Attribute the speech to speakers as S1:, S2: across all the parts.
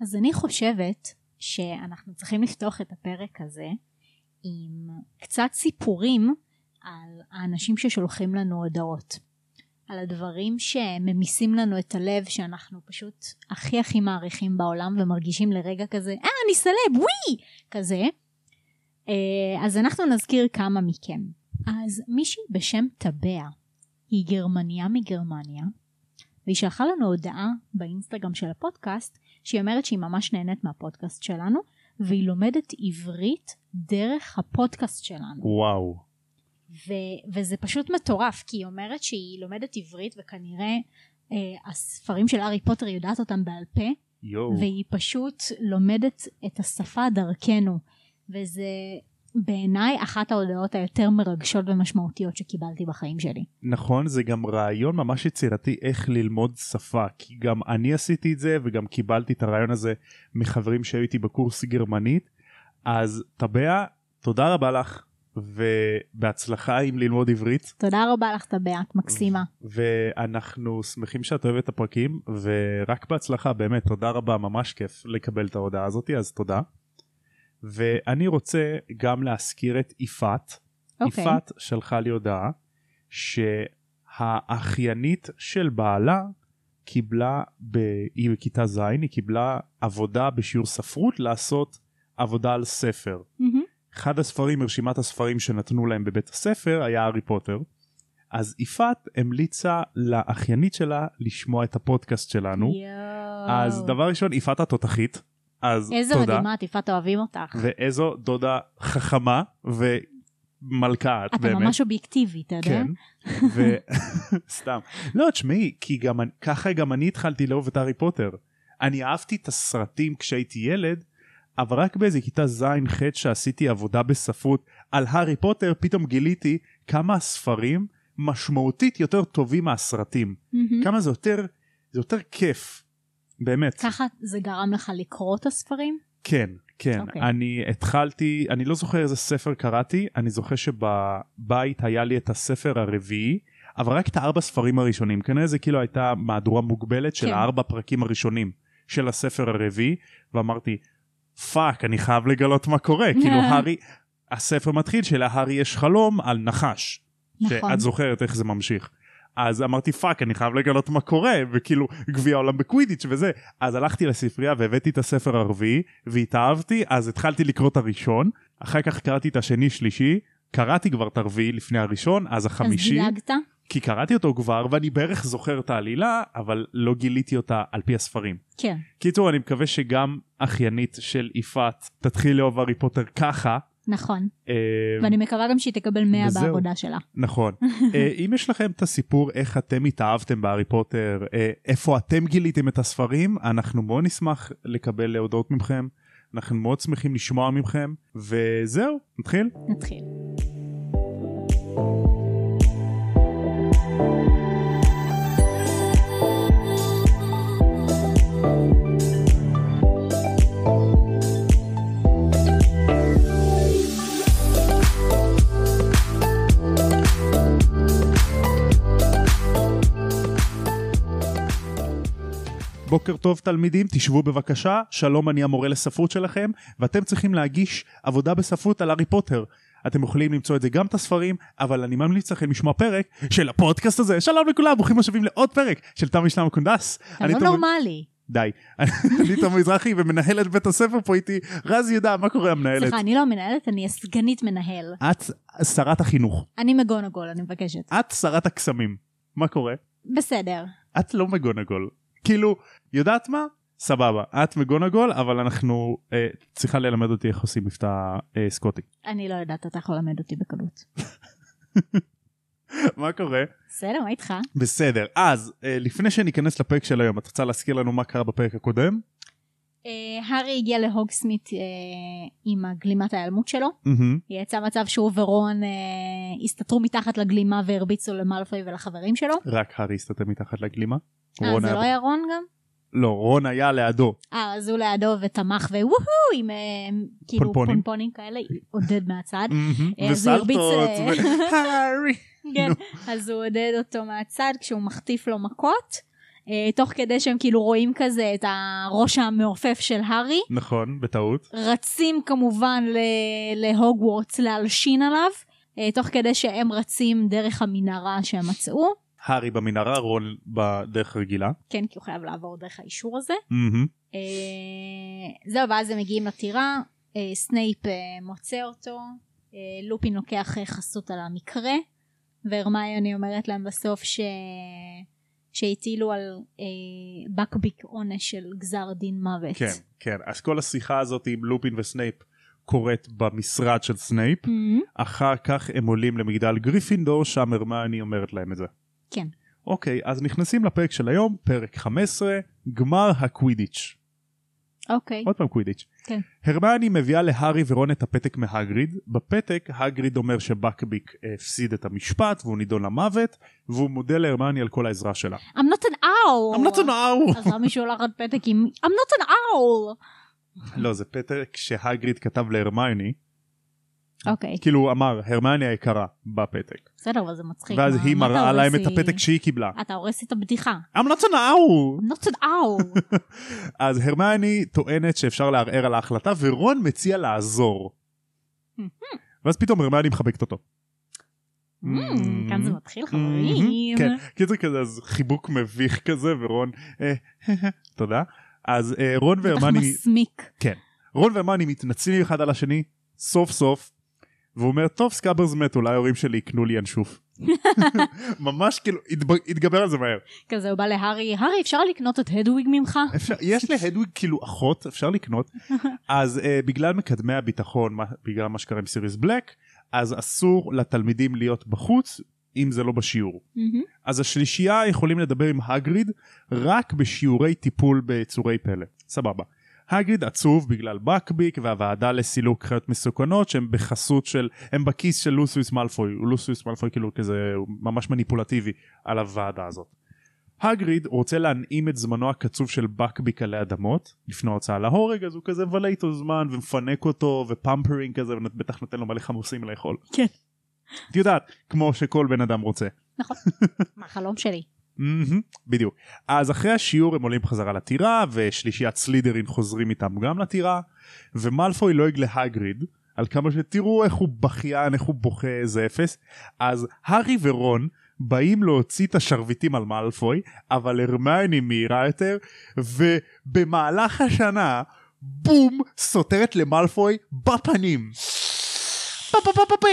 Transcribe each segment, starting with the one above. S1: אז אני חושבת שאנחנו צריכים לפתוח את הפרק הזה עם קצת סיפורים על האנשים ששולחים לנו הודעות. על הדברים שממיסים לנו את הלב שאנחנו פשוט הכי הכי מעריכים בעולם ומרגישים לרגע כזה אה אני סלב וואי כזה אה, אז אנחנו נזכיר כמה מכם אז מישהי בשם טבע היא גרמניה מגרמניה והיא שלחה לנו הודעה באינסטגרם של הפודקאסט שהיא אומרת שהיא ממש נהנית מהפודקאסט שלנו והיא לומדת עברית דרך הפודקאסט שלנו
S2: וואו.
S1: ו- וזה פשוט מטורף כי היא אומרת שהיא לומדת עברית וכנראה אה, הספרים של הארי פוטר היא יודעת אותם בעל פה
S2: יואו.
S1: והיא פשוט לומדת את השפה דרכנו וזה בעיניי אחת ההודעות היותר מרגשות ומשמעותיות שקיבלתי בחיים שלי.
S2: נכון זה גם רעיון ממש יצירתי איך ללמוד שפה כי גם אני עשיתי את זה וגם קיבלתי את הרעיון הזה מחברים שהיו איתי בקורס גרמנית אז טבע תודה רבה לך ובהצלחה עם ללמוד עברית
S1: תודה רבה לך טבע, את מקסימה.
S2: ואנחנו שמחים שאת אוהבת את הפרקים ורק בהצלחה באמת תודה רבה ממש כיף לקבל את ההודעה הזאת אז תודה. ואני רוצה גם להזכיר את יפעת
S1: אוקיי.
S2: יפעת שלחה לי הודעה שהאחיינית של בעלה קיבלה, ב... היא בכיתה ז', היא קיבלה עבודה בשיעור ספרות לעשות עבודה על ספר.
S1: מהמם.
S2: אחד הספרים מרשימת הספרים שנתנו להם בבית הספר היה הארי פוטר. אז יפעת המליצה לאחיינית שלה לשמוע את הפודקאסט שלנו.
S1: יואו.
S2: אז דבר ראשון, יפעת התותחית. אז
S1: איזה
S2: תודה.
S1: מדהימה, את יפעת אוהבים אותך.
S2: ואיזו דודה חכמה ומלכה את
S1: אתה
S2: באמת.
S1: ממש אובייקטיבי, אתה יודע?
S2: כן, ו- סתם. לא, תשמעי, כי גם אני- ככה גם אני התחלתי לאהוב את הארי פוטר. אני אהבתי את הסרטים כשהייתי ילד, אבל רק באיזה כיתה ז'-ח' שעשיתי עבודה בספרות על הארי פוטר, פתאום גיליתי כמה הספרים משמעותית יותר טובים מהסרטים.
S1: מהמם.
S2: כמה זה יותר, זה יותר כיף. באמת.
S1: ככה זה גרם לך לקרוא את הספרים?
S2: כן, כן.
S1: אוקיי.
S2: אני התחלתי, אני לא זוכר איזה ספר קראתי, אני זוכר שבבית היה לי את הספר הרביעי, אבל רק את הארבע ספרים הראשונים. כנראה זה כאילו הייתה מהדורה מוגבלת של
S1: כן.
S2: הארבע פרקים הראשונים של הספר הרביעי, ואמרתי, פאק, אני חייב לגלות מה קורה. כאילו, הארי, הספר מתחיל שלהארי יש חלום על נחש.
S1: נכון.
S2: שאת זוכרת איך זה ממשיך. אז אמרתי פאק אני חייב לגלות מה קורה וכאילו גביע עולם בקווידיץ' וזה אז הלכתי לספרייה והבאתי את הספר הרביעי והתאהבתי אז התחלתי לקרוא את הראשון אחר כך קראתי את השני שלישי קראתי כבר את הרביעי לפני הראשון אז החמישי
S1: אז דילגת?
S2: כי קראתי אותו כבר ואני בערך זוכר את העלילה אבל לא גיליתי אותה על פי הספרים.
S1: כן.
S2: קיצור אני מקווה שגם אחיינית של יפעת תתחיל לאהוב הארי פוטר ככה.
S1: נכון,
S2: אה,
S1: ואני מקווה גם שהיא תקבל 100
S2: וזהו.
S1: בעבודה שלה.
S2: נכון. אה, אם יש לכם את הסיפור איך אתם התאהבתם בהארי פוטר, אה, איפה אתם גיליתם את הספרים, אנחנו מאוד נשמח לקבל הודעות ממכם, אנחנו מאוד שמחים לשמוע ממכם, וזהו, נתחיל.
S1: נתחיל.
S2: בוקר טוב תלמידים, תשבו בבקשה, שלום אני המורה לספרות שלכם, ואתם צריכים להגיש עבודה בספרות על הארי פוטר. אתם יכולים למצוא את זה גם את הספרים, אבל אני ממליץ לכם לשמוע פרק של הפודקאסט הזה. שלום לכולם, ברוכים השבים לעוד פרק של תם משלם הקונדס.
S1: אתה
S2: אני
S1: לא
S2: תום-
S1: נורמלי.
S2: די. אני תום מזרחי ומנהלת בית הספר פה איתי, רז יהודה, מה קורה המנהלת?
S1: סליחה, אני לא המנהלת, אני הסגנית מנהל.
S2: את שרת החינוך,
S1: אני מגונגול, אני מבקשת.
S2: את שרת הקסמים, מה קורה?
S1: בסדר.
S2: את לא מגונגול. כאילו, יודעת מה? סבבה, את מגונגול, אבל אנחנו, אה, צריכה ללמד אותי איך עושים מבטא אה, סקוטי.
S1: אני לא יודעת, אתה יכול ללמד אותי בקלות.
S2: מה קורה?
S1: בסדר, מה איתך?
S2: בסדר, אז אה, לפני שניכנס לפרק של היום, את רוצה להזכיר לנו מה קרה בפרק הקודם?
S1: אה, הארי הגיע להוגסמית אה, עם הגלימת ההיעלמות שלו.
S2: מהמם.
S1: יצא מצב שהוא ורון אה, הסתתרו מתחת לגלימה והרביצו למאלפוי ולחברים שלו.
S2: רק הארי הסתתר מתחת לגלימה.
S1: אה,
S2: רון
S1: זה לא היה רון גם?
S2: לא, רון היה לידו.
S1: אה, אז הוא לידו ותמך ווהו עם אה, כאילו
S2: פונפונים.
S1: פונפונים כאלה, עודד מהצד.
S2: מהמם.
S1: אה, אז הוא הרביץ,
S2: וסלטות.
S1: אה,
S2: ו- הארי.
S1: כן, אז הוא עודד אותו מהצד כשהוא מחטיף לו מכות. אה, תוך כדי שהם כאילו רואים כזה את הראש המעופף של הארי,
S2: נכון, בטעות.
S1: רצים כמובן ל- להוגוורטס להלשין עליו, אה, תוך כדי שהם רצים דרך המנהרה שהם מצאו,
S2: הארי במנהרה, רון בדרך רגילה.
S1: כן כי הוא חייב לעבור דרך האישור הזה.
S2: מהמם.
S1: אה, זהו, ואז הם מגיעים לטירה, אה, סנייפ אה, מוצא אותו, אה, לופין לוקח אה, חסות על המקרה, והרמיוני אומרת להם בסוף ש... שהטילו על אה, בקביק עונש של גזר דין מוות.
S2: כן, כן. אז כל השיחה הזאת עם לופין וסנייפ קורית במשרד של סנייפ.
S1: Mhm.
S2: אחר כך הם עולים למגדל גריפינדור, שם הרמני אומרת להם את זה.
S1: כן.
S2: אוקיי, אז נכנסים לפרק של היום, פרק 15, גמר הקווידיץ'.
S1: אוקיי.
S2: עוד פעם קווידיץ'.
S1: כן.
S2: הרמני מביאה להארי ורון את הפתק מהגריד. בפתק הגריד אומר שבקביק הפסיד את המשפט והוא נידון למוות, והוא מודה להרמני על כל העזרה שלה.
S1: I'm not an owl.
S2: המלצון ההוא!
S1: אז למה היא שולחת פתק עם I'm not an owl.
S2: לא, זה פתק שהגריד כתב להרמיוני,
S1: אוקיי,
S2: כאילו הוא אמר, הרמיוני היקרה, בפתק.
S1: בסדר, אבל זה מצחיק.
S2: ואז
S1: מה-
S2: היא
S1: מה אתה
S2: מראה
S1: הורס
S2: להם את
S1: לי?
S2: הפתק שהיא קיבלה.
S1: אתה הורס לי את הבדיחה.
S2: המלצון ההוא!
S1: I'm not an owl.
S2: אז הרמיוני טוענת שאפשר לערער על ההחלטה ורון מציע לעזור.
S1: מהמם.
S2: ואז פתאום הרמיוני מחבקת אותו.
S1: Mm, כאן זה מתחיל חברים.
S2: מהמם, כן, קיצור כזה אז חיבוק מביך כזה ורון אה, תודה. אז אה, רון
S1: בטח
S2: והרמיוני
S1: מסמיק.
S2: רון והרמיוני מתנצלים אחד על השני סוף סוף. והוא אומר טוב סקאברס מת אולי ההורים שלי יקנו לי ינשוף. ממש כאילו התב- התגבר על זה מהר.
S1: כזה הוא בא להארי, הארי אפשר לקנות את הדוויג ממך?
S2: אפשר, יש להדוויג כאילו אחות אפשר לקנות אז uh, בגלל מקדמי הביטחון מה, בגלל מה שקרה עם סיריס בלק אז אסור לתלמידים להיות בחוץ אם זה לא בשיעור
S1: מהמם.
S2: אז השלישייה יכולים לדבר עם הגריד רק בשיעורי טיפול בצורי פלא סבבה. הגריד עצוב בגלל בקביק והוועדה לסילוק חיות מסוכנות שהם בחסות של הם בכיס של לוסיוס מאלפוי לוסיוס מאלפוי כאילו כזה הוא ממש מניפולטיבי על הוועדה הזאת. הגריד רוצה להנעים את זמנו הקצוב של בקביק עלי אדמות לפני ההוצאה להורג אז הוא כזה מבלה איתו זמן ומפנק אותו ופמפרינג כזה ובטח נותן לו מלא חמוסים לאכול.
S1: כן.
S2: את יודעת כמו שכל בן אדם רוצה.
S1: נכון. מה החלום שלי?
S2: מהמם, בדיוק. אז אחרי השיעור הם עולים חזרה לטירה, ושלישיית סלידרין חוזרים איתם גם לטירה, ומלפוי לועג להגריד, על כמה שתראו איך הוא בכיין, איך הוא בוכה, איזה אפס. אז הארי ורון באים להוציא את השרביטים על מאלפוי, אבל הרמיוני מהירה יותר, ובמהלך השנה, בום, סותרת למאלפוי בפנים. פה פה פה פה פה,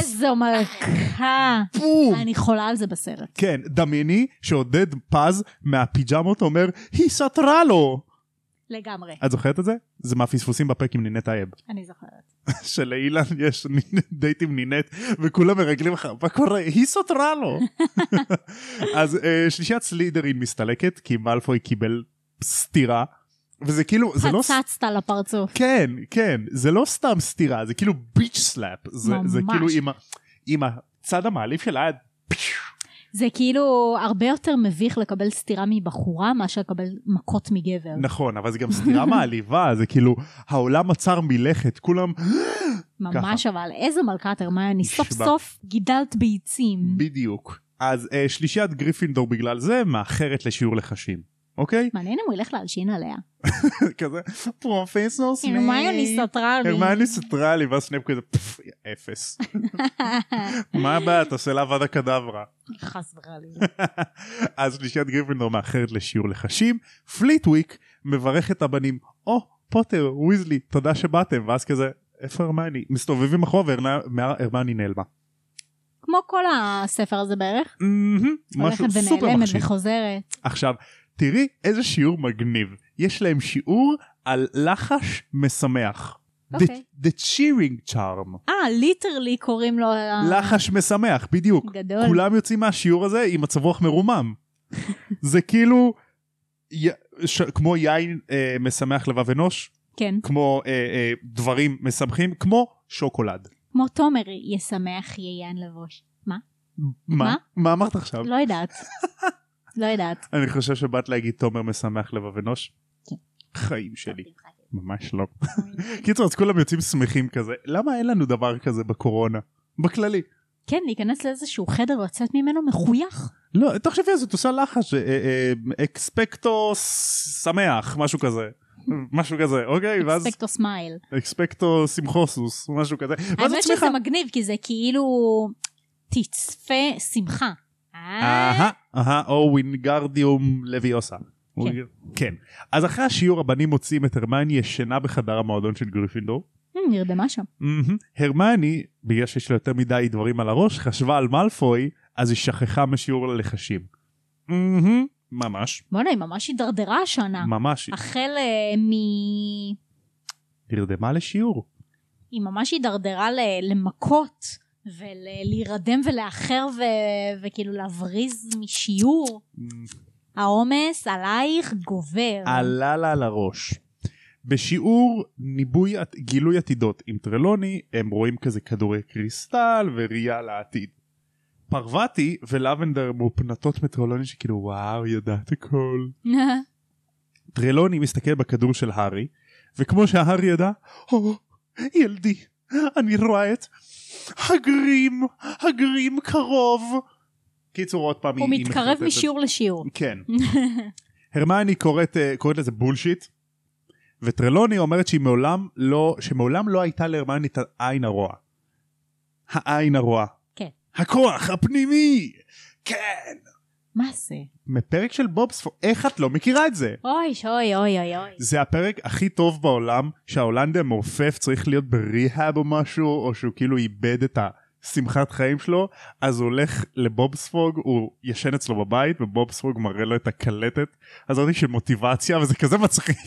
S1: איזו מלכה.
S2: בום.
S1: אני חולה על זה בסרט.
S2: כן, דמייני שעודד פז מהפיג'מות אומר, היא סתרה לו!
S1: לגמרי.
S2: את זוכרת את זה? זה מהפספוסים בפרק עם נינת טייב.
S1: אני זוכרת.
S2: שלאילן יש דייט עם נינט וכולם מרגלים לך, מה קורה? היא סתרה לו! אז אה, שלישיית סלידרין מסתלקת כי מאלפוי קיבל סטירה, וזה כאילו, זה לא...
S1: פצצת לפרצוף.
S2: כן, כן, זה לא סתם סטירה, זה כאילו ביץ' סלאפ. זה, זה
S1: ממש.
S2: כאילו עם, ה- עם הצד המעליב של היד.
S1: זה כאילו הרבה יותר מביך לקבל סטירה מבחורה מאשר לקבל מכות מגבר.
S2: נכון, אבל זה גם סתירה מעליבה, זה כאילו, העולם עצר מלכת, כולם
S1: ממש אבל, איזו מלכת הרמיוני. סוף
S2: נכון, נשבע.
S1: סוף גידלת ביצים.
S2: בדיוק. אז אה, שלישיית גריפינדור בגלל זה, מאחרת לשיעור לחשים, אוקיי?
S1: מעניין אם הוא ילך להלשין עליה.
S2: כזה, פרופסור סנייפ.
S1: הרמיוני סתרה לי.
S2: הרמיוני סתרה לי, ואז סנייפ כזה, "פפ, אפס. מה הבעיה, תעשה לה ועדה קדברה.
S1: חס וחלילה.
S2: אז שלישיית גריפינדור מאחרת לשיעור לחשים, פליטוויק מברך את הבנים, או, פוטר, ויזלי, תודה שבאתם, ואז כזה, איפה הרמיוני? מסתובבים אחורה והרמיוני נעלמה.
S1: כמו כל הספר הזה בערך.
S2: מהמם, משהו
S1: הולכת
S2: סופר
S1: ונעלמת
S2: מחשיד.
S1: וחוזרת.
S2: עכשיו, תראי איזה שיעור מגניב. יש להם שיעור על לחש משמח. The-
S1: אוקיי.
S2: The cheering charm.
S1: אה, ליטרלי קוראים לו... ה-
S2: לחש משמח, בדיוק.
S1: אה. גדול.
S2: כולם יוצאים מהשיעור הזה עם מצב רוח מרומם. זה כאילו י- ש- כמו יין אה, משמח לבב אנוש,
S1: כן.
S2: כמו אה, אה, דברים משמחים, כמו שוקולד.
S1: כמו תומר, ישמח יעיין לבוש. מה?
S2: מה?
S1: מה?
S2: מה אמרת עכשיו?
S1: לא יודעת. לא יודעת.
S2: אני חושב שבאת להגיד תומר משמח לבב אנוש.
S1: כן.
S2: חיים שלי. ממש לא. קיצור אז כולם יוצאים שמחים כזה למה אין לנו דבר כזה בקורונה בכללי
S1: כן, להיכנס לאיזשהו חדר ולצאת ממנו מחוייך.
S2: לא, תחשבי על זה, את עושה לחש, אה, אה, אה, אקספקטו ס- שמח, משהו כזה. משהו כזה, אוקיי? ואז
S1: אקספקטו סמייל.
S2: אקספקטו שמחוסוס, משהו כזה. ואז את
S1: האמת שזה
S2: שמחה.
S1: מגניב, כי זה כאילו תצפה שמחה. אה,
S2: אהה, אהה, או ווינגרדיום לוויוסה. כן. אז אחרי השיעור הבנים מוצאים את הרמני ישנה בחדר המועדון של גריפינדור.
S1: Hmm, נרדמה שם.
S2: מהמם. הרמני, בגלל שיש לה יותר מדי דברים על הראש, חשבה על מאלפוי, אז היא שכחה משיעור ללחשים. מהמם. ממש,
S1: בוא'נה, היא ממש הידרדרה השנה.
S2: ממש,
S1: החל אה, מ...
S2: היא נרדמה לשיעור.
S1: היא ממש הידרדרה ל- למכות ולהירדם ולאחר ו- וכאילו להבריז משיעור. העומס עלייך גובר.
S2: עלה לה על הראש. בשיעור ניבוי, עת- גילוי עתידות עם טרלוני, הם רואים כזה כדורי קריסטל וראייה לעתיד. פרווטי ולבנדר מופנטות מטרלוני שכאילו וואו ידעת הכל. טרלוני מסתכל בכדור של הארי, וכמו שהארי ידע, או, ילדי, אני רואה את הגרים, הגרים קרוב. קיצור עוד פעם
S1: הוא
S2: היא- היא
S1: מתקרב
S2: מחרטטת.
S1: משיעור לשיעור.
S2: כן. הרמייני קוראת, אה, קוראת לזה בולשיט, וטרלוני אומרת שהיא מעולם לא, שמעולם לא הייתה להרמייני את העין הרוע. העין הרוע.
S1: כן.
S2: הכוח הפנימי! כן!
S1: מה זה?
S2: מפרק של בובספור, איך את לא מכירה את זה?
S1: אוי, אוי, אוי, אוי, אוי.
S2: זה הפרק הכי טוב בעולם שההולנדי המעופף צריך להיות בריהאב או משהו או שהוא כאילו איבד את השמחת חיים שלו אז הוא הולך לבובספוג הוא ישן אצלו בבית ובובספוג מראה לו את הקלטת הזאת של מוטיבציה וזה כזה מצחיק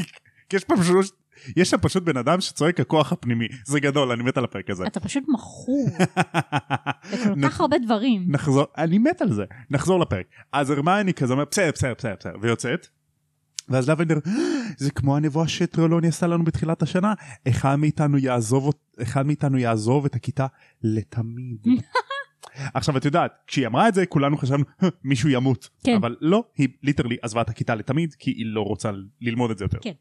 S2: כי יש פעם שלוש יש שם פשוט בן אדם שצועק הכוח הפנימי זה גדול אני מת על הפרק הזה
S1: אתה פשוט מכור בכל
S2: נכון.
S1: כך הרבה דברים.
S2: נחזור, אני מת על זה, נחזור לפרק. אז הרמייני כזה אומר, בסדר, בסדר, בסדר, בסדר, ויוצאת. ואז לבנדר, זה כמו הנבואה שטרלוני עשה לנו בתחילת השנה, אחד מאיתנו יעזוב, אות- אחד מאיתנו יעזוב את הכיתה לתמיד. עכשיו את יודעת, כשהיא אמרה את זה כולנו חשבנו "אה, מישהו ימות,
S1: כן.
S2: אבל לא, היא ליטרלי עזבה את הכיתה לתמיד כי היא לא רוצה ל- ללמוד את זה יותר.
S1: כן.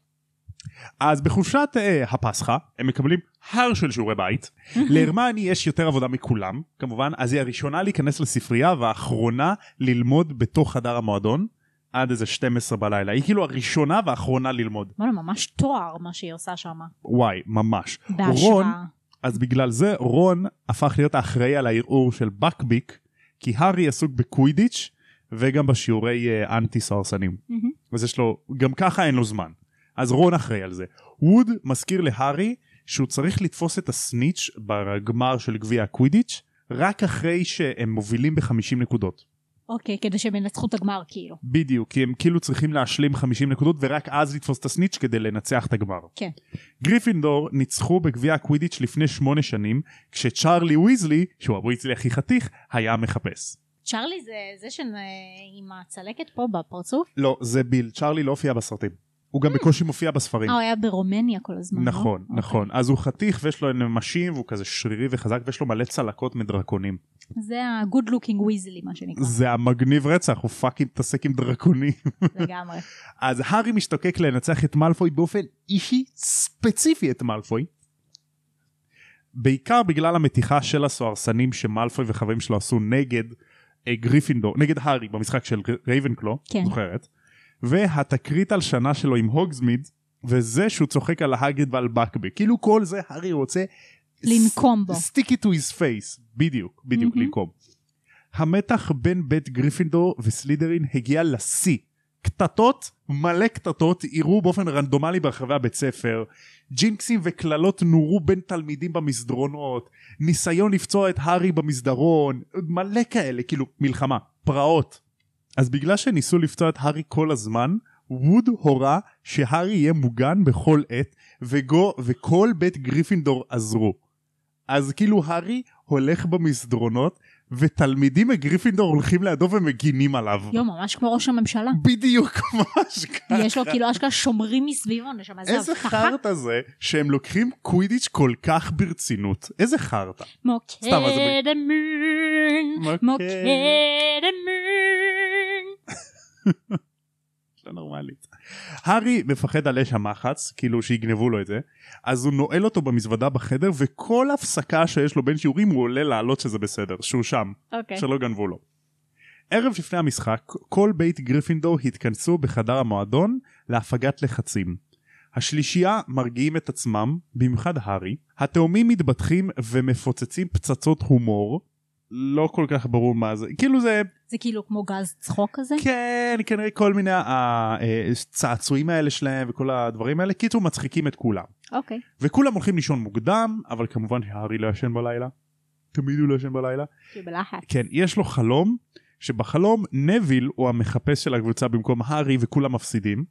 S2: אז בחופשת אה, הפסחא הם מקבלים הר של שיעורי בית, להרמני יש יותר עבודה מכולם כמובן אז היא הראשונה להיכנס לספרייה והאחרונה ללמוד בתוך חדר המועדון עד איזה 12 בלילה היא כאילו הראשונה והאחרונה ללמוד
S1: בוא'נה, ממש תואר מה שהיא עושה שם.
S2: וואי ממש רון
S1: בהשראה.
S2: אז בגלל זה רון הפך להיות האחראי על הערעור של בקביק כי הארי עסוק בקווידיץ' וגם בשיעורי אה, אנטי סוהרסנים
S1: מהמם.
S2: אז יש לו, גם ככה אין לו זמן. אז רון אחראי על זה. ווד מזכיר להארי שהוא צריך לתפוס את הסניץ' בגמר של גביע הקווידיץ' רק אחרי שהם מובילים ב-50 נקודות.
S1: אוקיי, כדי שהם ינצחו את הגמר כאילו.
S2: בדיוק, כי הם כאילו צריכים להשלים 50 נקודות ורק אז לתפוס את הסניץ' כדי לנצח את הגמר.
S1: כן.
S2: גריפינדור ניצחו בגביע הקווידיץ' לפני שמונה שנים, כשצ'ארלי ויזלי, שהוא הוויזלי הכי חתיך, היה המחפש.
S1: צ'רלי זה זה של... עם הצלקת פה בפרצוף?
S2: לא, זה ביל, צ'ארלי לא הופיע בסרטים. הוא גם בקושי מופיע בספרים.
S1: אה, הוא היה ברומניה כל הזמן. לא?
S2: נכון
S1: אוקיי.
S2: נכון אז הוא חתיך ויש לו נמשים והוא כזה שרירי וחזק ויש לו מלא צלקות מדרקונים
S1: זה ה-good looking weasley מה שנקרא.
S2: זה המגניב רצח הוא פאקינג מתעסק עם דרקונים
S1: לגמרי.
S2: אז הארי משתוקק לנצח את מאלפוי באופן אישי ספציפי את מאלפוי בעיקר בגלל המתיחה של הסוהרסנים שמאלפוי וחברים שלו עשו נגד אה, גריפינדור נגד הארי במשחק של רייבנקלו
S1: כן.
S2: זוכרת והתקרית על שנה שלו עם הוגזמיד וזה שהוא צוחק על ההגד ועל בקבי כאילו כל זה הארי רוצה
S1: לנקום בו.
S2: stick it to his face בדיוק בדיוק
S1: מהמם.
S2: לנקום. המתח בין בית גריפינדור וסלידרין הגיע לשיא. קטטות מלא קטטות אירעו באופן רנדומלי ברחבי הבית ספר ג'ינקסים וקללות נורו בין תלמידים במסדרונות ניסיון לפצוע את הארי במסדרון מלא כאלה כאילו מלחמה פרעות אז בגלל שניסו לפצוע את הארי כל הזמן ווד הורה שהארי יהיה מוגן בכל עת וגו, וכל בית גריפינדור עזרו אז כאילו הארי הולך במסדרונות ותלמידים מגריפינדור הולכים לידו ומגינים עליו
S1: יו, ממש כמו ראש הממשלה.
S2: בדיוק ממש ככה
S1: יש לו כאילו אשכרה שומרים מסביבו, נשמה, זה
S2: איזה
S1: הבטחה.
S2: חרטא זה שהם לוקחים קווידיץ' כל כך ברצינות איזה חרטא
S1: מוקד
S2: סתם, אז זה
S1: המון,
S2: מוקד.
S1: מוקד המון.
S2: לא נורמלית. הארי מפחד על אש המחץ, כאילו שיגנבו לו את זה, אז הוא נועל אותו במזוודה בחדר, וכל הפסקה שיש לו בין שיעורים הוא עולה לעלות שזה בסדר, שהוא שם,
S1: אוקיי.
S2: שלא גנבו לו. ערב לפני המשחק, כל בית גריפינדור התכנסו בחדר המועדון להפגת לחצים. השלישייה מרגיעים את עצמם, במיוחד הארי, התאומים מתבטחים ומפוצצים פצצות הומור, לא כל כך ברור מה זה, כאילו זה
S1: זה כאילו כמו גז צחוק כזה?
S2: כן, כנראה כל מיני הצעצועים האלה שלהם וכל הדברים האלה. קיצור, מצחיקים את כולם.
S1: אוקיי.
S2: וכולם הולכים לישון מוקדם, אבל כמובן שהארי לא ישן בלילה. תמיד הוא לא ישן בלילה.
S1: כי הוא כאילו בלחץ.
S2: כן, יש לו חלום, שבחלום נביל הוא המחפש של הקבוצה במקום הארי וכולם מפסידים.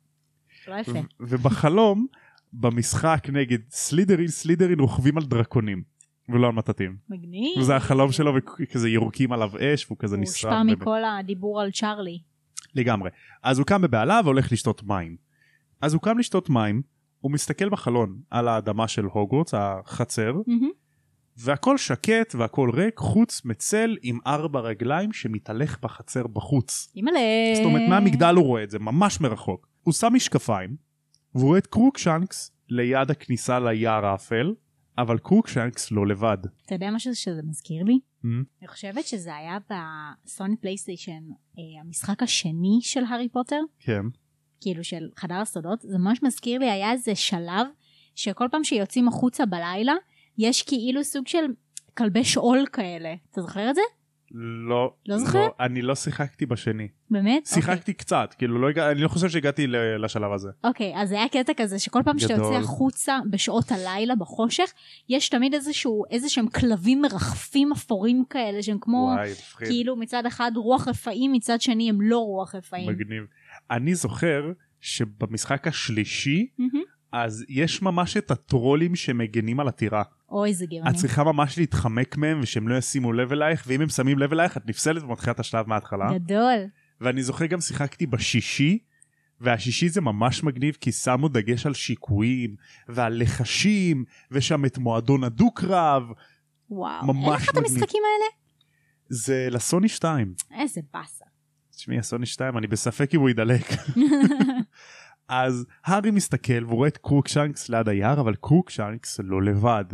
S1: לא יפה.
S2: ו- ובחלום, במשחק נגד סלידרין, סלידרין רוכבים על דרקונים. ולא על מטאטים.
S1: מגניב.
S2: וזה החלום שלו וכזה יורקים עליו אש והוא כזה
S1: הוא
S2: נשרף.
S1: הושפע
S2: ובאמת.
S1: מכל הדיבור על צ'ארלי.
S2: לגמרי. אז הוא קם בבהלה והולך לשתות מים. אז הוא קם לשתות מים, הוא מסתכל בחלון על האדמה של הוגוורטס, החצר,
S1: מהמם.
S2: והכל שקט והכל ריק, חוץ מצל עם ארבע רגליים שמתהלך בחצר בחוץ.
S1: אימא'לה.
S2: זאת אומרת, מהמגדל הוא רואה את זה, ממש מרחוק. הוא שם משקפיים, והוא רואה את קרוקשנקס ליד הכניסה ליער האפל, אבל קרוקשנקס לא לבד.
S1: אתה יודע משהו שזה מזכיר לי?
S2: Mm?
S1: אני חושבת שזה היה בסוני פלייסטיישן, אה, המשחק השני של הארי פוטר,
S2: כן.
S1: כאילו של חדר הסודות, זה ממש מזכיר לי, היה איזה שלב שכל פעם שיוצאים החוצה בלילה, יש כאילו סוג של כלבי שאול כאלה. אתה זוכר את זה?
S2: לא.
S1: לא זוכר? אוקיי.
S2: אני לא שיחקתי בשני.
S1: באמת?
S2: שיחקתי קצת, כאילו לא הגע- אני לא חושב שהגעתי ל- לשלב הזה.
S1: אוקיי, okay, אז היה קטע כזה שכל פעם שאתה
S2: גדול.
S1: יוצא החוצה בשעות הלילה בחושך, יש תמיד איזשהו, איזה שהם כלבים מרחפים אפורים כאלה, שהם כמו,
S2: וואי, מפחיד.
S1: כאילו מצד אחד רוח רפאים, מצד שני הם לא רוח רפאים.
S2: מגניב. אני זוכר שבמשחק השלישי,
S1: מהמם.
S2: אז יש ממש את הטרולים שמגנים על הטירה.
S1: אוי, זה
S2: את
S1: גאוני.
S2: צריכה ממש להתחמק מהם ושהם לא ישימו לב אלייך, ואם הם שמים לב אלייך את נפסלת ומתחילה את השלב מההתחלה.
S1: כן. גדול.
S2: ואני זוכר גם שיחקתי בשישי, והשישי זה ממש מגניב כי שמו דגש על שיקויים, ועל לחשים, ושם את מועדון הדו-קרב,
S1: וואו.
S2: ממש
S1: אין לך את
S2: מגניב.
S1: המשחקים האלה?
S2: זה לסוני 2.
S1: איזה באסה.
S2: תשמעי, הסוני 2, אני בספק אם הוא ידלק. אז הארי מסתכל והוא רואה את קרוקשנקס ליד היער, אבל קרוקשנקס לא לבד.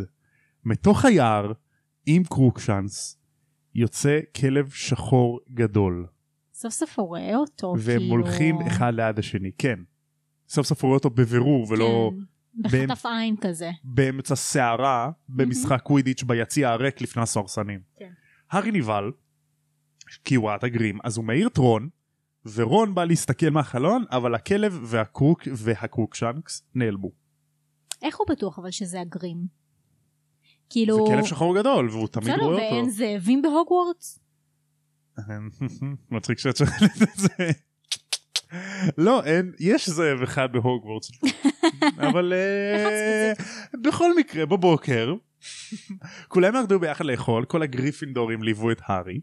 S2: מתוך היער, עם קרוקשנקס, יוצא כלב שחור גדול,
S1: סוף סוף הוא רואה אותו,
S2: והם
S1: כאילו...
S2: הולכים אחד ליד השני, כן. סוף סוף הוא רואה אותו בבירור ולא
S1: כן, בחטף עין כזה.
S2: באמצע סערה במשחק קווידיץ' ביציע הריק לפני הסוהרסנים.
S1: כן.
S2: הארי נבהל, כי הוא ראה את הגרים, אז הוא מעיר את רון, ורון בא להסתכל מהחלון, אבל הכלב והקרוק והקרוקשנקס נעלמו.
S1: איך הוא בטוח אבל שזה הגרים? כאילו...
S2: זה כלב שחור גדול, והוא תמיד
S1: בסדר,
S2: רואה
S1: ואין
S2: אותו.
S1: זאבים בהוגוורטס?
S2: מצחיק שאת שואלת את זה. לא, אין, יש זאב אחד בהוגוורטס, אבל אה,
S1: אחד
S2: בכל מקרה, בבוקר, כולם ירדו ביחד לאכול, כל הגריפינדורים ליוו את הארי.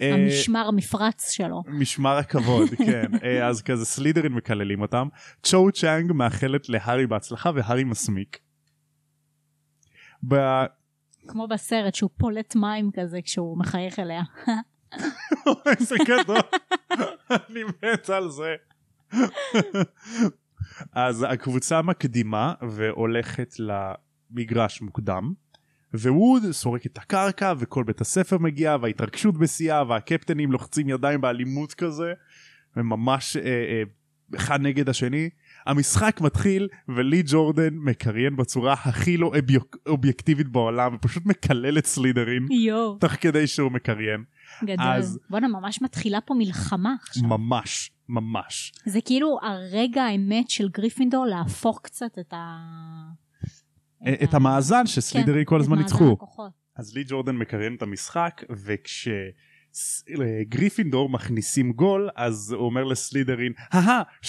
S2: אה,
S1: המשמר המפרץ שלו.
S2: משמר הכבוד, כן. אה, אז כזה סלידרין מקללים אותם. צ'ו צ'אנג מאחלת להארי בהצלחה והארי מסמיק. ב-
S1: כמו בסרט שהוא פולט מים כזה כשהוא מחייך אליה.
S2: איזה גדול, אני מת על זה. אז הקבוצה מקדימה והולכת למגרש מוקדם, ווד סורק את הקרקע וכל בית הספר מגיע וההתרגשות בשיאה והקפטנים לוחצים ידיים באלימות כזה, וממש אה, אה, אחד נגד השני. המשחק מתחיל ולי ג'ורדן מקריין בצורה הכי לא אביוק- אובייקטיבית בעולם ופשוט מקלל את סלידרים
S1: יואו,
S2: תוך כדי שהוא מקריין אז-
S1: גדול. בואנה, ממש מתחילה פה מלחמה עכשיו.
S2: ממש ממש
S1: זה כאילו הרגע האמת של גריפינדור להפוך קצת את ה...
S2: את המאזן שסלידרי
S1: אוקיי.
S2: כל
S1: כן, את
S2: הזמן
S1: מאזן
S2: ניצחו.
S1: הכוחות.
S2: אז לי ג'ורדן מקריין את המשחק וכשגריפינדור מכניסים גול אז הוא אומר לסלידרין אהה 30-0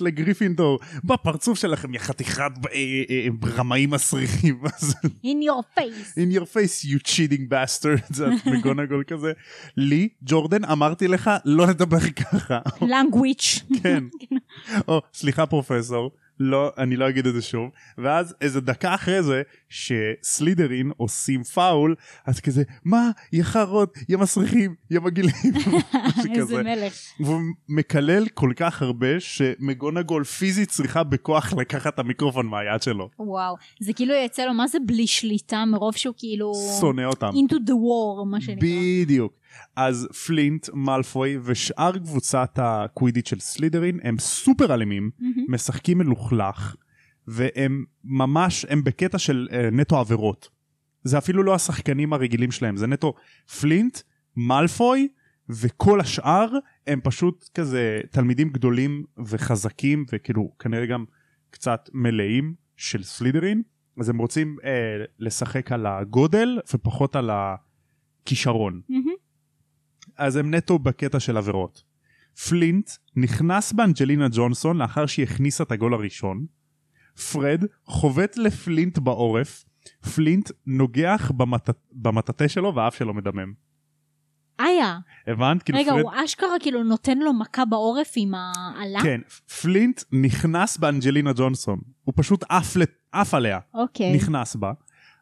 S2: לגריפינדור בפרצוף שלכם יא חתיכת אה, אה, אה, רמאים מסריחים אז
S1: In your face.
S2: in your face you cheating bastards את בגונגול כזה לי ג'ורדן אמרתי לך לא לדבר ככה
S1: language. כאילו.
S2: כן. או, סליחה פרופסור, לא, אני לא אגיד את זה שוב. ואז איזה דקה אחרי זה, שסלידרין עושים פאול, אז כזה, מה, יא חרות, יא מסריחים, יא מגעילים, משהו כזה.
S1: איזה מלך.
S2: והוא מקלל כל כך הרבה, שמגונגול פיזית צריכה בכוח לקחת את המיקרופון מהיד שלו.
S1: וואו. זה כאילו יצא לו, מה זה בלי שליטה מרוב שהוא כאילו...
S2: שונא אותם.
S1: into the war, מה שנקרא.
S2: בדיוק. אז פלינט, מאלפוי ושאר קבוצת הקווידית של סלידרין הם סופר אלימים,
S1: מהמם.
S2: משחקים מלוכלך, והם ממש, הם בקטע של אה, נטו עבירות. זה אפילו לא השחקנים הרגילים שלהם, זה נטו פלינט, מאלפוי, וכל השאר הם פשוט כזה תלמידים גדולים וחזקים, וכאילו כנראה גם קצת מלאים של סלידרין, אז הם רוצים אה, לשחק על הגודל ופחות על הכישרון.
S1: מהמם.
S2: אז הם נטו בקטע של עבירות. פלינט נכנס באנג'לינה ג'ונסון לאחר שהיא הכניסה את הגול הראשון. פרד חובט לפלינט בעורף. פלינט נוגח במט... במטאטה שלו והאף שלו מדמם.
S1: איה.
S2: הבנת? כאילו
S1: רגע,
S2: פרד...
S1: הוא אשכרה כאילו נותן לו מכה בעורף עם האלה?
S2: כן, פלינט נכנס באנג'לינה ג'ונסון. הוא פשוט עף, לת... עף עליה.
S1: אוקיי.
S2: נכנס בה.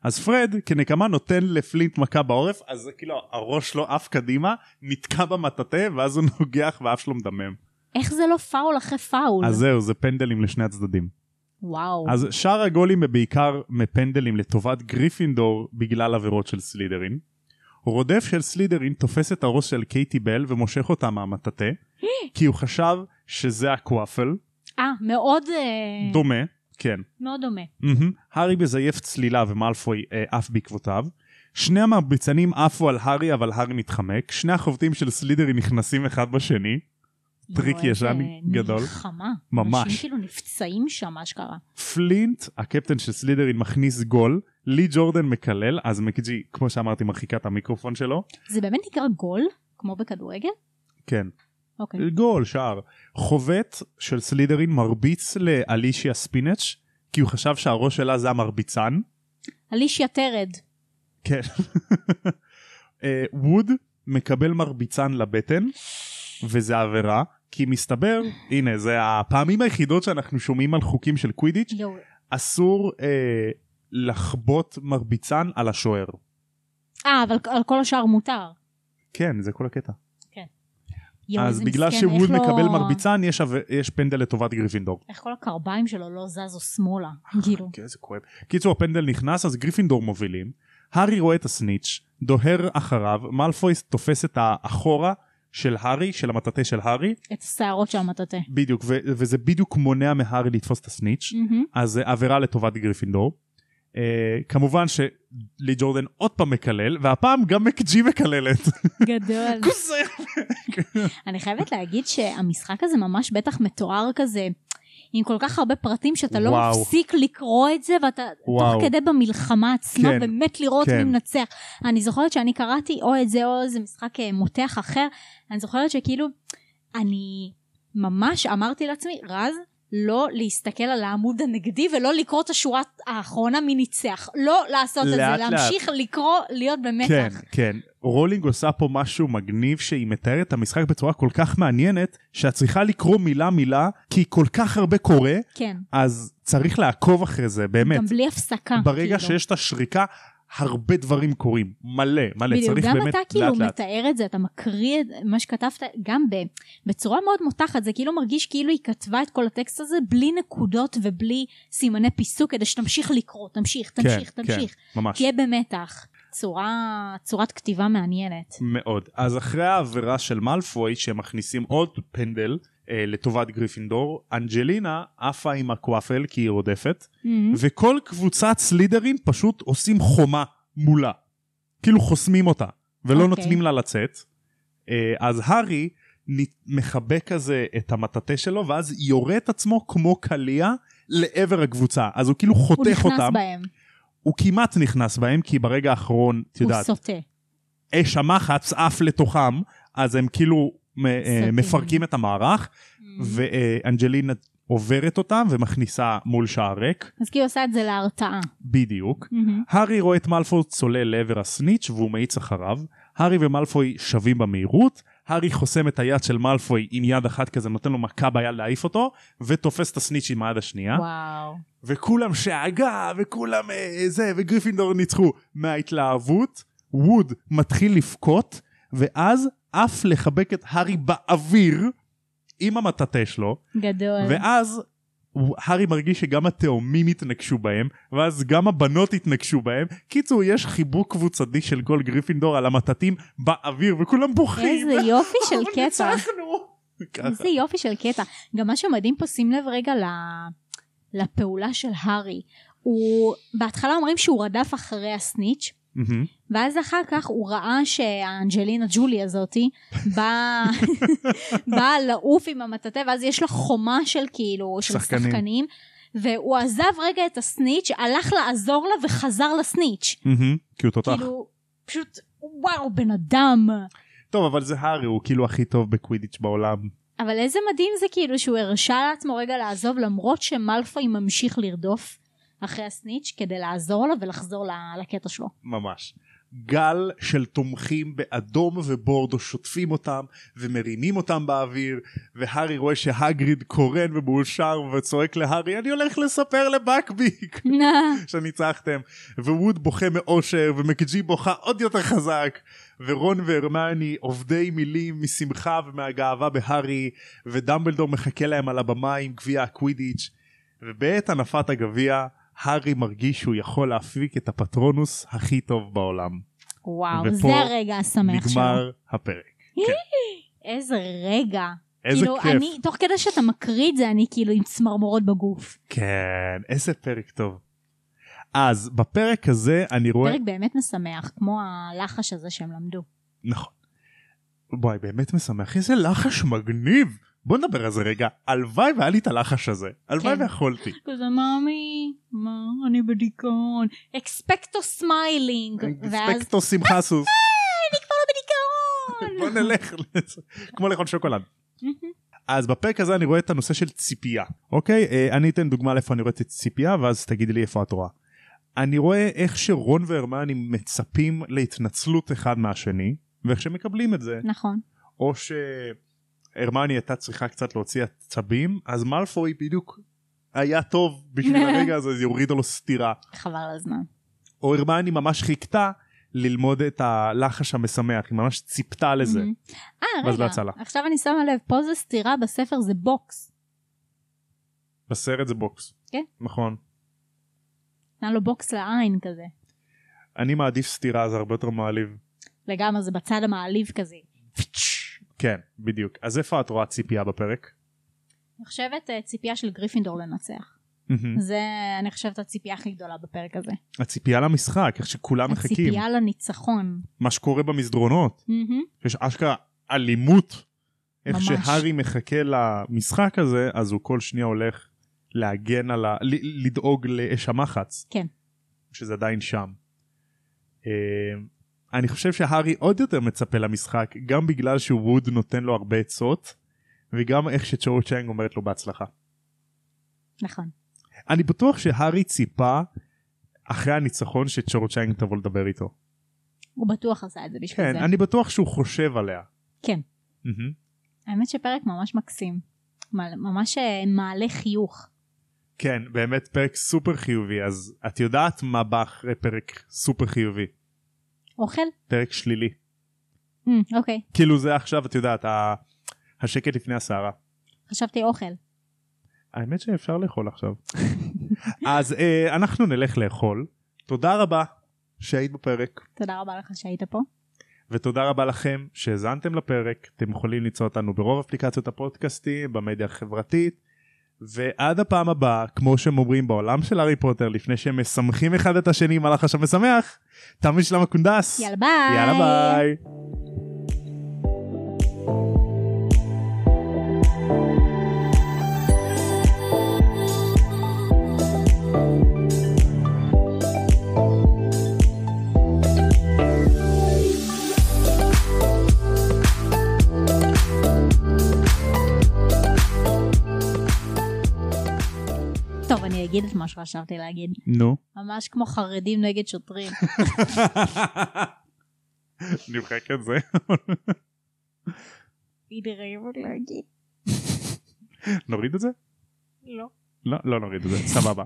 S2: אז פרד כנקמה נותן לפלינט מכה בעורף, אז זה כאילו הראש שלו עף קדימה, נתקע במטאטה, ואז הוא נוגח והאף שלו מדמם.
S1: איך זה לא פאול אחרי פאול?
S2: אז זהו, זה פנדלים לשני הצדדים.
S1: וואו.
S2: אז שאר הגולים הם בעיקר מפנדלים לטובת גריפינדור בגלל עבירות של סלידרין. רודף של סלידרין תופס את הראש של קייטי בל ומושך אותה מהמטאטה, כי הוא חשב שזה הקוואפל,
S1: אה, מאוד אה,
S2: דומה, כן.
S1: מאוד דומה.
S2: מהמם. הארי מזייף צלילה ומאלפוי אה, עף בעקבותיו. שני המרביצנים עפו על הארי אבל הארי מתחמק. שני החובטים של סלידרין נכנסים אחד בשני.
S1: יואו,
S2: טריק
S1: איזה
S2: ישן גדול.
S1: מלחמה.
S2: ממש.
S1: אנשים כאילו נפצעים שם, אשכרה.
S2: פלינט, הקפטן של סלידרין, מכניס גול, לי ג'ורדן מקלל, אז מקג'י, כמו שאמרתי, מרחיקה את המיקרופון שלו.
S1: זה באמת נקרא גול? כמו בכדורגל?
S2: כן,
S1: אוקיי.
S2: גול, שער. חובט של סלידרין מרביץ לאלישיה ספינץ', כי הוא חשב שהראש שלה זה המרביצן.
S1: אלישיה טרד.
S2: כן. אה, ווד מקבל מרביצן לבטן, וזה עבירה, כי מסתבר, הנה, זה הפעמים היחידות שאנחנו שומעים על חוקים של קווידיץ',
S1: יואו,
S2: אסור אה, לחבוט מרביצן על השוער.
S1: אה, אבל על כל השאר מותר.
S2: כן, זה כל הקטע.
S1: יואו,
S2: אז
S1: איזה
S2: בגלל
S1: מסכן,
S2: שווד
S1: איך לא-
S2: מקבל מרביצן, יש עב- יש פנדל לטובת גריפינדור.
S1: איך כל הקרביים שלו לא זזו שמאלה, כאילו.
S2: כן, זה כואב. קיצור, הפנדל נכנס, אז גריפינדור מובילים. הארי רואה את הסניץ', דוהר אחריו, מאלפוי תופס את האחורה של הארי, של המטאטה של הארי,
S1: את השערות של המטאטה.
S2: בדיוק, ו- וזה בדיוק מונע מהארי לתפוס את הסניץ',
S1: מהמם.
S2: אז זה עבירה לטובת גריפינדור. אה, כמובן שלי ג'ורדן עוד פעם מקלל, והפעם גם מקג'י מקללת.
S1: גדול.
S2: כוס
S1: אני חייבת להגיד שהמשחק הזה ממש בטח מתואר כזה, עם כל כך הרבה פרטים שאתה לא
S2: וואו.
S1: מפסיק לקרוא את זה, ואתה
S2: וואו.
S1: תוך כדי במלחמה עצמה
S2: כן,
S1: באמת לראות
S2: כן.
S1: מי מנצח. אני זוכרת שאני קראתי או את זה או איזה משחק אה, מותח אחר, אני זוכרת שכאילו, אני ממש אמרתי לעצמי, רז, לא להסתכל על העמוד הנגדי ולא לקרוא את השורה האחרונה מי ניצח. לא לעשות את זה,
S2: לאט לאט.
S1: להמשיך לקרוא, להיות במתח.
S2: כן, כן. רולינג עושה פה משהו מגניב שהיא מתארת את המשחק בצורה כל כך מעניינת, שאת צריכה לקרוא מילה מילה, כי כל כך הרבה קורה,
S1: כן.
S2: אז צריך לעקוב אחרי זה, באמת.
S1: גם בלי הפסקה.
S2: ברגע
S1: כאילו.
S2: שיש את השריקה, הרבה דברים קורים. מלא, מלא. צריך
S1: גם
S2: באמת
S1: אתה כאילו
S2: לאט לאט.
S1: מתאר את זה, אתה מקריא את מה שכתבת, גם ב, בצורה מאוד מותחת, זה כאילו מרגיש כאילו היא כתבה את כל הטקסט הזה בלי נקודות ובלי סימני פיסוק, כדי שתמשיך לקרוא, תמשיך, תמשיך,
S2: כן,
S1: תמשיך.
S2: כן, ממש.
S1: תהיה במתח. צורה, צורת כתיבה מעניינת.
S2: מאוד. אז אחרי העבירה של מאלפוי שמכניסים עוד פנדל אה, לטובת גריפינדור, אנג'לינה עפה עם הקוואפל כי היא רודפת, וכל קבוצת סלידרים פשוט עושים חומה מולה. כאילו חוסמים אותה, ולא okay.
S1: אוקיי.
S2: נותנים לה לצאת. אה, אז הארי נ- מכבה כזה את המטאטה שלו, ואז יורה את עצמו כמו קליע לעבר הקבוצה. אז הוא כאילו
S1: הוא
S2: חותך
S1: נכנס
S2: אותם.
S1: בהם,
S2: הוא כמעט נכנס בהם, כי ברגע האחרון, את
S1: הוא
S2: יודעת,
S1: סוטה.
S2: אש המחץ עף לתוכם, אז הם כאילו מ- אה,
S1: סוטים. Mm-hmm.
S2: מפרקים את המערך, ואנג'לינה עוברת אותם ומכניסה מול שער ריק,
S1: אז כאילו עושה את זה להרתעה.
S2: בדיוק.
S1: מהמם.
S2: הארי רואה את מאלפוי צולל לעבר הסניץ' והוא מאיץ אחריו. הארי ומאלפוי שבים במהירות, הארי חוסם את היד של מאלפוי עם יד אחת כזה, נותן לו מכה ביד להעיף אותו, ותופס את הסניץ' עם היד השנייה.
S1: וואו.
S2: וכולם שאגה, וכולם אה, זה, וגריפינדור ניצחו. מההתלהבות, ווד מתחיל לבכות, ואז עף לחבק את הארי באוויר, עם המטאטה שלו,
S1: גדול.
S2: ואז הוא- הארי מרגיש שגם התאומים התנגשו בהם, ואז גם הבנות התנגשו בהם. קיצור, יש חיבוק קבוצתי של כל גריפינדור על המטאטים באוויר, וכולם בוכים.
S1: איזה יופי של
S2: אבל
S1: קטע.
S2: ניצחנו! ככה.
S1: איזה יופי של קטע. גם מה שמדהים פה, שים לב רגע ל- לפעולה של הארי. הוא, בהתחלה אומרים שהוא רדף אחרי הסניץ',
S2: מהמם.
S1: ואז אחר כך הוא ראה שהאנג'לינה ג'ולי הזאתי באה באה לעוף עם המטאטא ואז יש לה חומה של כאילו של
S2: שחקנים.
S1: שחקנים. שחקנים והוא עזב רגע את הסניץ' הלך לעזור לה וחזר לסניץ'
S2: מהמם. כי הוא תותח.
S1: כאילו פשוט וואו בן אדם
S2: טוב, אבל זה הארי, הוא כאילו הכי טוב בקווידיץ' בעולם.
S1: אבל איזה מדהים זה כאילו שהוא הרשה לעצמו רגע לעזוב למרות שמלפוי ממשיך לרדוף אחרי הסניץ' כדי לעזור לו ולחזור ל- לקטע שלו
S2: ממש. גל של תומכים באדום ובורדו שוטפים אותם ומרימים אותם באוויר והארי רואה שהגריד קורן ומאושר וצועק להארי אני הולך לספר לבקביק שניצחתם ווד בוכה מאושר ומקג'י בוכה עוד יותר חזק ורון והרמני עובדי מילים משמחה ומהגאווה בהארי ודמבלדור מחכה להם על הבמה עם גביע הקווידיץ' ובעת הנפת הגביע הארי מרגיש שהוא יכול להפיק את הפטרונוס הכי טוב בעולם.
S1: וואו
S2: ופה
S1: זה הרגע השמח שלו
S2: נגמר הפרק.
S1: איזה רגע
S2: איזה
S1: כאילו,
S2: כיף.
S1: אני, תוך כדי שאתה מקריא את זה, אני כאילו עם צמרמורות בגוף.
S2: כן, איזה פרק טוב. אז בפרק הזה אני רואה...
S1: פרק באמת משמח, כמו הלחש הזה שהם למדו.
S2: נכון. וואי, באמת משמח. איזה לחש מגניב. בוא נדבר על זה רגע. הלוואי והיה לי את הלחש הזה. הלוואי
S1: כן.
S2: ויכולתי.
S1: כזה, מאמי, מה, אני בדיכאון. אקספקטו סמיילינג. ואז,
S2: אקספקטו שמחה סוס.
S1: לא בדיכאון.
S2: בוא נלך לזה. כמו לאכול שוקולד. אז בפרק הזה אני רואה את הנושא של ציפייה, אוקיי? אה, אני אתן דוגמה לאיפה אני רואה את הציפייה, ואז תגידי לי איפה את רואה. אני רואה איך שרון והרמני מצפים להתנצלות אחד מהשני, ואיך שמקבלים את זה.
S1: נכון.
S2: או שהרמני הייתה צריכה קצת להוציא עצבים, אז מאלפוי בדיוק היה טוב בשביל הרגע הזה, זה יוריד לו סטירה.
S1: חבל על הזמן.
S2: או הרמני ממש חיכתה ללמוד את הלחש המשמח, היא ממש ציפתה לזה.
S1: מהמם. אה,
S2: ואז לא
S1: רגע,
S2: יצא לה.
S1: עכשיו אני שמה לב, פה זה סתירה בספר, זה בוקס.
S2: בסרט זה בוקס.
S1: כן.
S2: נכון.
S1: נתן לו בוקס לעין כזה.
S2: אני מעדיף סטירה, זה הרבה יותר מעליב.
S1: לגמרי, זה בצד המעליב כזה.
S2: כן, בדיוק. אז איפה את רואה ציפייה בפרק?
S1: אני חושבת אה, ציפייה של גריפינדור לנצח. זה, אני חושבת, הציפייה הכי גדולה בפרק הזה.
S2: הציפייה למשחק, איך שכולם מחכים.
S1: הציפייה לניצחון.
S2: מה שקורה במסדרונות,
S1: מהמם.
S2: שיש אשכרה אלימות. איך
S1: ממש.
S2: שהארי מחכה למשחק הזה, אז הוא כל שנייה הולך להגן על ה... ל- לדאוג לאש המחץ.
S1: כן.
S2: שזה עדיין שם. אה, אני חושב שהארי עוד יותר מצפה למשחק, גם בגלל שווד נותן לו הרבה עצות, וגם איך שצ'ו צ'אנג אומרת לו בהצלחה.
S1: נכון.
S2: אני בטוח שהארי ציפה אחרי הניצחון שצ'ו צ'אנג תבוא לדבר איתו.
S1: הוא בטוח עשה את זה בשביל
S2: כן,
S1: זה.
S2: אני בטוח שהוא חושב עליה.
S1: כן.
S2: מהמם.
S1: האמת שפרק ממש מקסים. מ- ממש אה, מעלה חיוך.
S2: כן, באמת פרק סופר חיובי, אז את יודעת מה בא אחרי פרק סופר חיובי?
S1: אוכל?
S2: פרק שלילי.
S1: Mm, אוקיי.
S2: כאילו זה עכשיו, את יודעת, ה- השקט לפני הסערה.
S1: חשבתי אוכל.
S2: האמת שאפשר לאכול עכשיו. אז אה, אנחנו נלך לאכול. תודה רבה שהיית בפרק,
S1: תודה רבה לך שהיית פה.
S2: ותודה רבה לכם שהאזנתם לפרק. אתם יכולים למצוא אותנו ברוב אפליקציות הפודקאסטים, במדיה החברתית. ועד הפעם הבאה, כמו שהם אומרים בעולם של הארי פוטר, לפני שהם מסמכים אחד את השני עם הלחש המשמח, תם שלמה קונדס.
S1: יאללה ביי!
S2: יאללה ביי.
S1: טוב, אני אגיד את מה שחשבתי להגיד.
S2: נו.
S1: ממש כמו חרדים נגד שוטרים.
S2: נמחק את זה.
S1: אני רעבת להגיד.
S2: נוריד את זה?
S1: לא.
S2: לא, לא נוריד את זה, סבבה.